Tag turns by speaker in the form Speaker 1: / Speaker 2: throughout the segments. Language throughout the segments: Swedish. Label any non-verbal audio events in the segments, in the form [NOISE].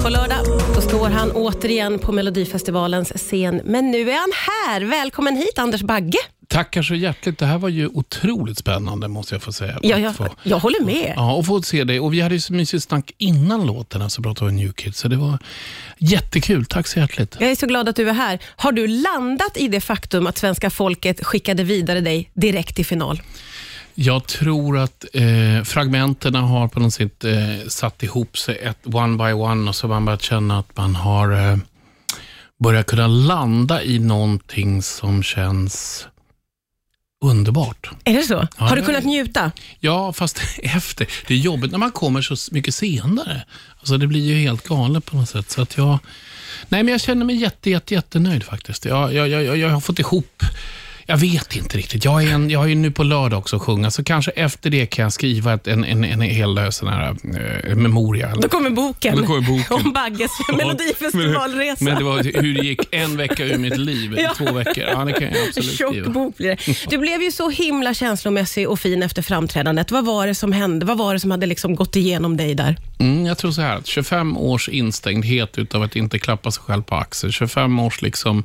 Speaker 1: På lördag då står han återigen på Melodifestivalens scen, men nu är han här. Välkommen hit, Anders Bagge.
Speaker 2: Tackar så hjärtligt. Det här var ju otroligt spännande måste jag få säga.
Speaker 1: Ja,
Speaker 2: Att
Speaker 1: jag,
Speaker 2: få,
Speaker 1: jag håller med.
Speaker 2: ja, och få se dig. Och vi hade ju så mysigt snack innan låten, alltså pratade om New Kids. Så det var jättekul. Tack så hjärtligt.
Speaker 1: Jag är så glad att du är här. Har du landat i det faktum att svenska folket skickade vidare dig direkt till final?
Speaker 2: Jag tror att eh, fragmenterna har på något sätt eh, satt ihop sig ett, one by one och så har man börjat känna att man har eh, börjat kunna landa i någonting som känns underbart.
Speaker 1: Är det så?
Speaker 2: Ja,
Speaker 1: Har du
Speaker 2: det-
Speaker 1: kunnat njuta?
Speaker 2: Ja, fast [LAUGHS] efter. Det är jobbigt när man kommer så mycket senare. Alltså det blir ju helt galet på något sätt. Så att jag, nej, men jag känner mig jätte, jätte, jättenöjd faktiskt. Jag, jag, jag, jag- jag har fått ihop jag vet inte riktigt. Jag, är en, jag har ju nu på lördag också att sjunga, så kanske efter det kan jag skriva ett, en, en, en hel sån här, eh, memoria.
Speaker 1: Då kommer boken,
Speaker 2: Då kommer boken.
Speaker 1: [LAUGHS] om Bagges Melodifestivalresa.
Speaker 2: Men det var hur det gick en vecka ur mitt liv,
Speaker 1: Ja.
Speaker 2: två veckor. Ja, det kan jag
Speaker 1: En
Speaker 2: absolut
Speaker 1: tjock
Speaker 2: skriva.
Speaker 1: bok blir det. Du blev ju så himla känslomässig och fin efter framträdandet. Vad var det som hände? Vad var det som hade liksom gått igenom dig där?
Speaker 2: Mm, jag tror så här, att 25 års instängdhet utav att inte klappa sig själv på axeln. 25 års liksom,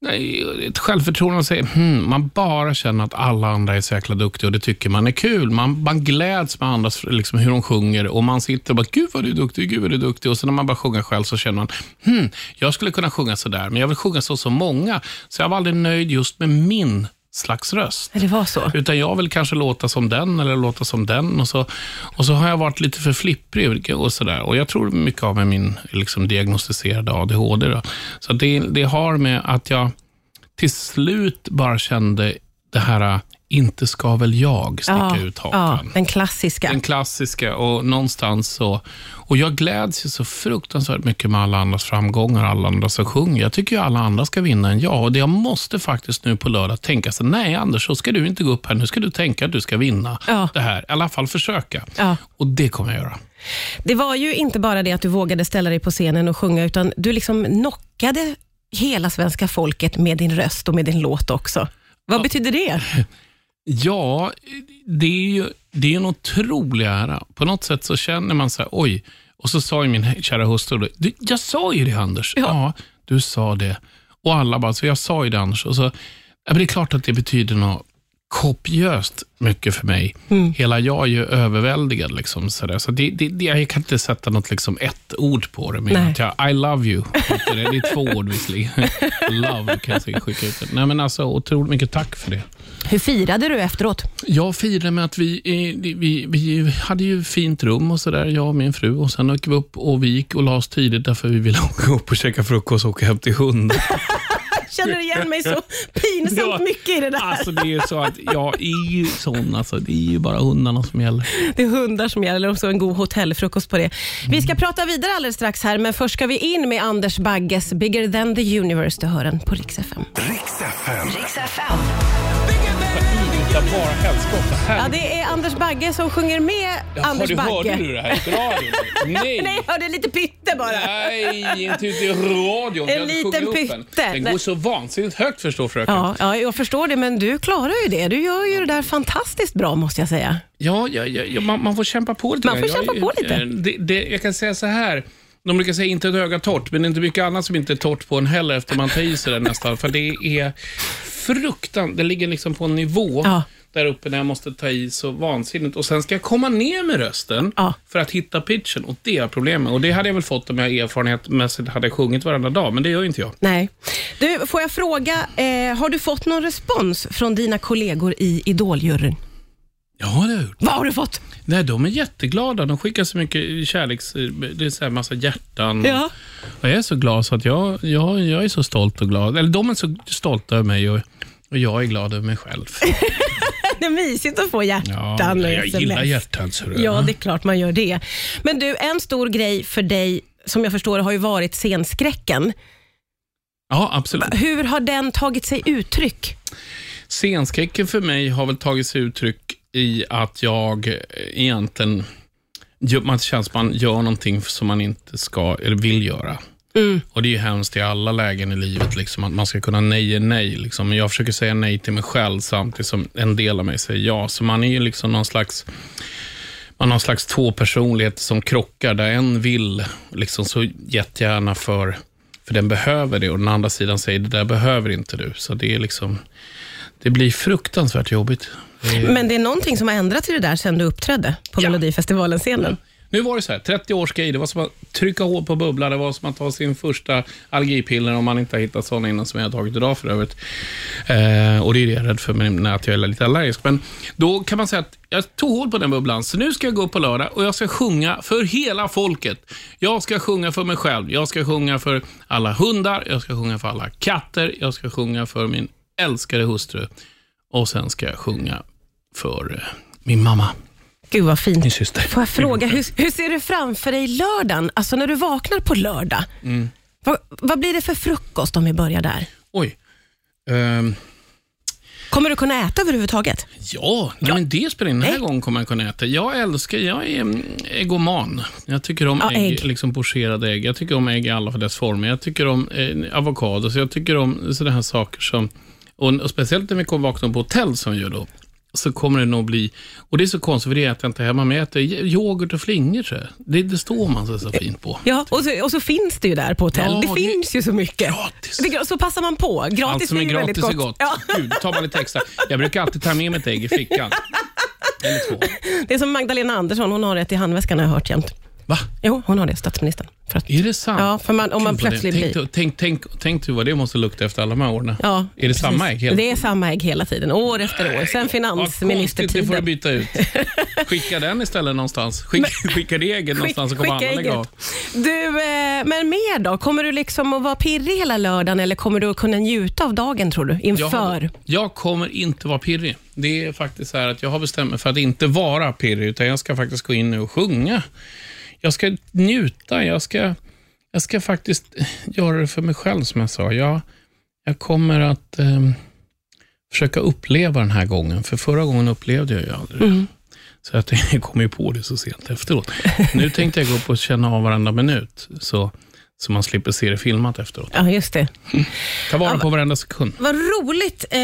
Speaker 2: nej, ett självförtroende och säga, hmm, man bara känner att alla andra är så jäkla duktiga och det tycker man är kul. Man, man gläds med andras, liksom, hur de sjunger och man sitter och bara, gud vad du är duktig, gud vad du är duktig. Och sen när man bara sjunger själv så känner man, hmm, jag skulle kunna sjunga så där, men jag vill sjunga så som många. Så jag var aldrig nöjd just med min slags röst.
Speaker 1: Det var så.
Speaker 2: Utan jag vill kanske låta som den eller låta som den. Och så, och så har jag varit lite för flipprig och sådär. Och jag tror mycket av med min liksom, diagnostiserade ADHD. Då. Så det, det har med att jag till slut bara kände det här, inte ska väl jag sticka ut
Speaker 1: ja,
Speaker 2: hakan.
Speaker 1: den klassiska.
Speaker 2: Den klassiska och någonstans så... Och jag gläds ju så fruktansvärt mycket med alla andras framgångar, alla andra som sjunger. Jag tycker ju alla andra ska vinna än jag. Och det jag måste faktiskt nu på lördag tänka så nej Anders, så ska du inte gå upp här. Nu ska du tänka att du ska vinna
Speaker 1: Ja.
Speaker 2: det här. I alla fall försöka.
Speaker 1: Ja.
Speaker 2: Och det kommer jag göra.
Speaker 1: Det var ju inte bara det att du vågade ställa dig på scenen och sjunga, utan du liksom knockade hela svenska folket med din röst och med din låt också. Vad betyder det?
Speaker 2: Ja, det är ju det är ju en otrolig ära. På något sätt så känner man så här, oj. Och så sa ju min [LAUGHS] kära hustru, då, du, jag sa ju det Anders. Ja. du sa det. Och alla bara, så jag sa ju det Anders. Och så, ja, men det är klart att det betyder något kopiöst mycket för mig. Hela jag är ju överväldigad. Liksom, så där. Så det, det, det, jag kan inte sätta något liksom, ett ord på det, men
Speaker 1: Nej.
Speaker 2: att jag, I love you. Det är, det är två ord visserligen. [LAUGHS] love kan jag säkert skicka ut. det. Nej, men alltså, otroligt mycket tack för det.
Speaker 1: Hur firade du efteråt?
Speaker 2: Jag firade med att vi, eh, vi, vi hade ju fint rum och sådär, jag och min fru. Och Sen åkte vi upp och vi gick och la oss tidigt därför vi ville [LAUGHS] gå upp och käka frukost och åka hem till hunden. [LAUGHS]
Speaker 1: Jag känner igen mig så pinsamt
Speaker 2: Ja.
Speaker 1: mycket i det där.
Speaker 2: Alltså det är ju så att jag är ju sån, alltså, det är ju bara hundarna som gäller.
Speaker 1: Det är hundar som gäller och så en god hotellfrukost på det. Vi
Speaker 2: Mm.
Speaker 1: ska prata vidare alldeles strax här, men först ska vi in med Anders Bagges Bigger than the universe. Du hör den på Rix FM.
Speaker 3: Riks FM.
Speaker 2: Ida, bara helskotta.
Speaker 1: Ja, det är Anders Bagge som sjunger med Anders Bagge.
Speaker 2: det här i radion?
Speaker 1: [LAUGHS] Nej, jag hörde lite pytte bara.
Speaker 2: Nej, inte ute i radion.
Speaker 1: En liten pytte. Nej.
Speaker 2: så vansinnigt högt förstår fröken.
Speaker 1: Ja, ja, jag förstår det, men du klarar ju det. Du gör ju det där fantastiskt bra, måste jag säga.
Speaker 2: Ja, ja, ja, ja man, man får kämpa på lite.
Speaker 1: Man
Speaker 2: grann.
Speaker 1: får
Speaker 2: jag,
Speaker 1: kämpa på lite.
Speaker 2: eh, Det, det, jag kan säga så här. De brukar säga inte ett öga torrt, men det är inte mycket annat som inte är torrt på en heller efter man tar i sig det nästan. För det är fruktan. Det ligger liksom på en nivå
Speaker 1: Ja.
Speaker 2: där uppe när jag måste ta i så vansinnigt. Och sen ska jag komma ner med rösten
Speaker 1: Ja.
Speaker 2: för att hitta pitchen. Och det är problemet. Och det hade jag väl fått om jag erfarenhetsmässigt hade sjungit varenda dag, men det gör ju inte jag.
Speaker 1: Nej. Du, får jag fråga, eh, har du fått någon respons från dina kollegor i Idoljuryn?
Speaker 2: Ja, det har jag gjort.
Speaker 1: Vad har du fått?
Speaker 2: Nej, de är jätteglada. De skickar så mycket kärleks... eh, Det är så här massa hjärtan.
Speaker 1: Ja. [LAUGHS]
Speaker 2: Och jag är så glad så att jag, jag, jag är så stolt och glad. Eller de är så stolta över mig och, och jag är glad över
Speaker 1: [LAUGHS]
Speaker 2: mig själv.
Speaker 1: Det är mysigt att få hjärtan
Speaker 2: Ja,
Speaker 1: och
Speaker 2: jag
Speaker 1: sms.
Speaker 2: gillar hjärtan, så du.
Speaker 1: Ja, det är klart man gör det. Men du, en stor grej för dig, som jag förstår har ju varit scenskräcken.
Speaker 2: ja, absolut.
Speaker 1: Hur har den tagit sig uttryck?
Speaker 2: Scenskräcken för mig har väl tagit sig uttryck i att jag eh, egentligen... gör- Man känns man gör någonting som man inte ska eller vill göra. Och Det är ju hemskt i alla lägen i livet, liksom, att man ska kunna nej är nej. Liksom. Men Jag försöker säga nej till mig själv samtidigt som en del av mig säger ja. Så man är ju liksom någon slags man har en slags två personligheter som krockar, där en vill liksom så jättegärna för, för den behöver det och den andra sidan säger det där behöver inte du. Så det är liksom, det blir fruktansvärt jobbigt. Det är-
Speaker 1: Men det är någonting som har ändrats i det där sen du uppträdde på
Speaker 2: Ja.
Speaker 1: Melodifestivalen-scenen.
Speaker 2: Nu var det så här, 30 års grej, det var som att trycka hål på bubblan, det var som att ta sin första algipiller om man inte har hittat sådana innan som jag har tagit idag för övrigt. Eh, och det är det jag är rädd för, men att jag är lite allergisk. Men då kan man säga att jag tog hål på den bubblan, så nu ska jag gå upp på lördag och jag ska sjunga för hela folket. Jag ska sjunga för mig själv, jag ska sjunga för alla hundar, jag ska sjunga för alla katter, jag ska sjunga för min älskade hustru och sen ska jag sjunga för eh, min mamma,
Speaker 1: Gud vad fint.
Speaker 2: min syster.
Speaker 1: Får jag fråga, hur, hur ser du framför dig lördagen? Alltså när du vaknar på lördag.
Speaker 2: Mm.
Speaker 1: Vad, vad blir det för frukost om vi börjar där?
Speaker 2: Oj. Ehm,
Speaker 1: Kommer du kunna äta överhuvudtaget?
Speaker 2: Ja, nej, men det spelar ingen Den här
Speaker 1: Nej.
Speaker 2: gången kommer jag kunna äta. Jag älskar, jag är mm, äggoman. Jag tycker om
Speaker 1: Ja,
Speaker 2: ägg,
Speaker 1: ägg.
Speaker 2: liksom pocherade ägg. Jag tycker om ägg i alla dess former. Jag tycker om eh, avokado, så jag tycker om sådana här saker som... Och, och speciellt när vi kommer vakna på hotell som vi gör då, så kommer det nog bli... Och det är så konstigt, för det äter jag inte hemma, men jag äter yoghurt och flingor tror jag. Det, det står man sig så fint på.
Speaker 1: Ja, och så, och så finns det ju där på hotell.
Speaker 2: Ja,
Speaker 1: det
Speaker 2: det-
Speaker 1: finns ju så mycket.
Speaker 2: Gratis!
Speaker 1: Det är gra- Så passar man på. Gratis
Speaker 2: Allt som
Speaker 1: är
Speaker 2: är
Speaker 1: ju
Speaker 2: gratis
Speaker 1: väldigt
Speaker 2: är gott.
Speaker 1: Ja,
Speaker 2: Gud, tar man lite extra. Jag brukar alltid ta med mig ett ägg i fickan. Eller två.
Speaker 1: det är som Magdalena Andersson, hon har det i handväskan har jag hört jämt.
Speaker 2: Va?
Speaker 1: Jo, hon har det, statsministern. För att,
Speaker 2: Är det sant?
Speaker 1: ja, för man, om man
Speaker 2: Gud, vad det-
Speaker 1: plötsligt
Speaker 2: tänk,
Speaker 1: blir...
Speaker 2: Tänk, tänk, tänk du vad det måste lukta efter alla de här åren.
Speaker 1: Ja,
Speaker 2: är det samma ägg?
Speaker 1: Det är samma ägg hela tiden, år efter år. Sen
Speaker 2: Vad konstigt, det får du
Speaker 1: finansministertiden. [LAUGHS]
Speaker 2: byta ut. Skicka den istället någonstans. Skicka, skicka det ägget någonstans så kommer alla lägga av.
Speaker 1: Du, eh, men mer då? Kommer du liksom att vara pirrig hela lördagen eller kommer du att kunna njuta av dagen tror du?
Speaker 2: Jag,
Speaker 1: Inför?
Speaker 2: har, jag kommer inte vara pirrig. Det är faktiskt så här att jag har bestämt mig för att inte vara pirrig, utan jag ska faktiskt gå in nu och sjunga. Jag ska njuta. Jag ska, jag ska faktiskt göra det för mig själv, som jag sa. Jag, jag kommer att ehm, försöka uppleva den här gången, för förra gången upplevde jag ju aldrig det. Så att [LAUGHS] jag kom ju på det så sent efteråt. Nu tänkte jag gå upp och känna av varenda minut, så, så man slipper se det filmat efteråt.
Speaker 1: Ja, just det.
Speaker 2: Ta vara på varenda sekund.
Speaker 1: Vad roligt. Eh,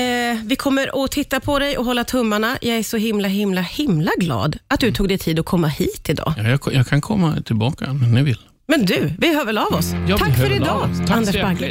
Speaker 1: vi kommer att titta på dig och hålla tummarna. Jag är så himla, himla, himla glad att du tog dig tid att komma hit idag.
Speaker 2: Ja, jag, jag kan komma tillbaka när ni vill.
Speaker 1: Men du, vi hör väl av oss.
Speaker 2: Jag
Speaker 1: Tack
Speaker 2: blir
Speaker 1: för
Speaker 2: hörd
Speaker 1: idag,
Speaker 2: av oss. Tack så
Speaker 1: Anders
Speaker 2: hjärtligt.
Speaker 1: Bagge.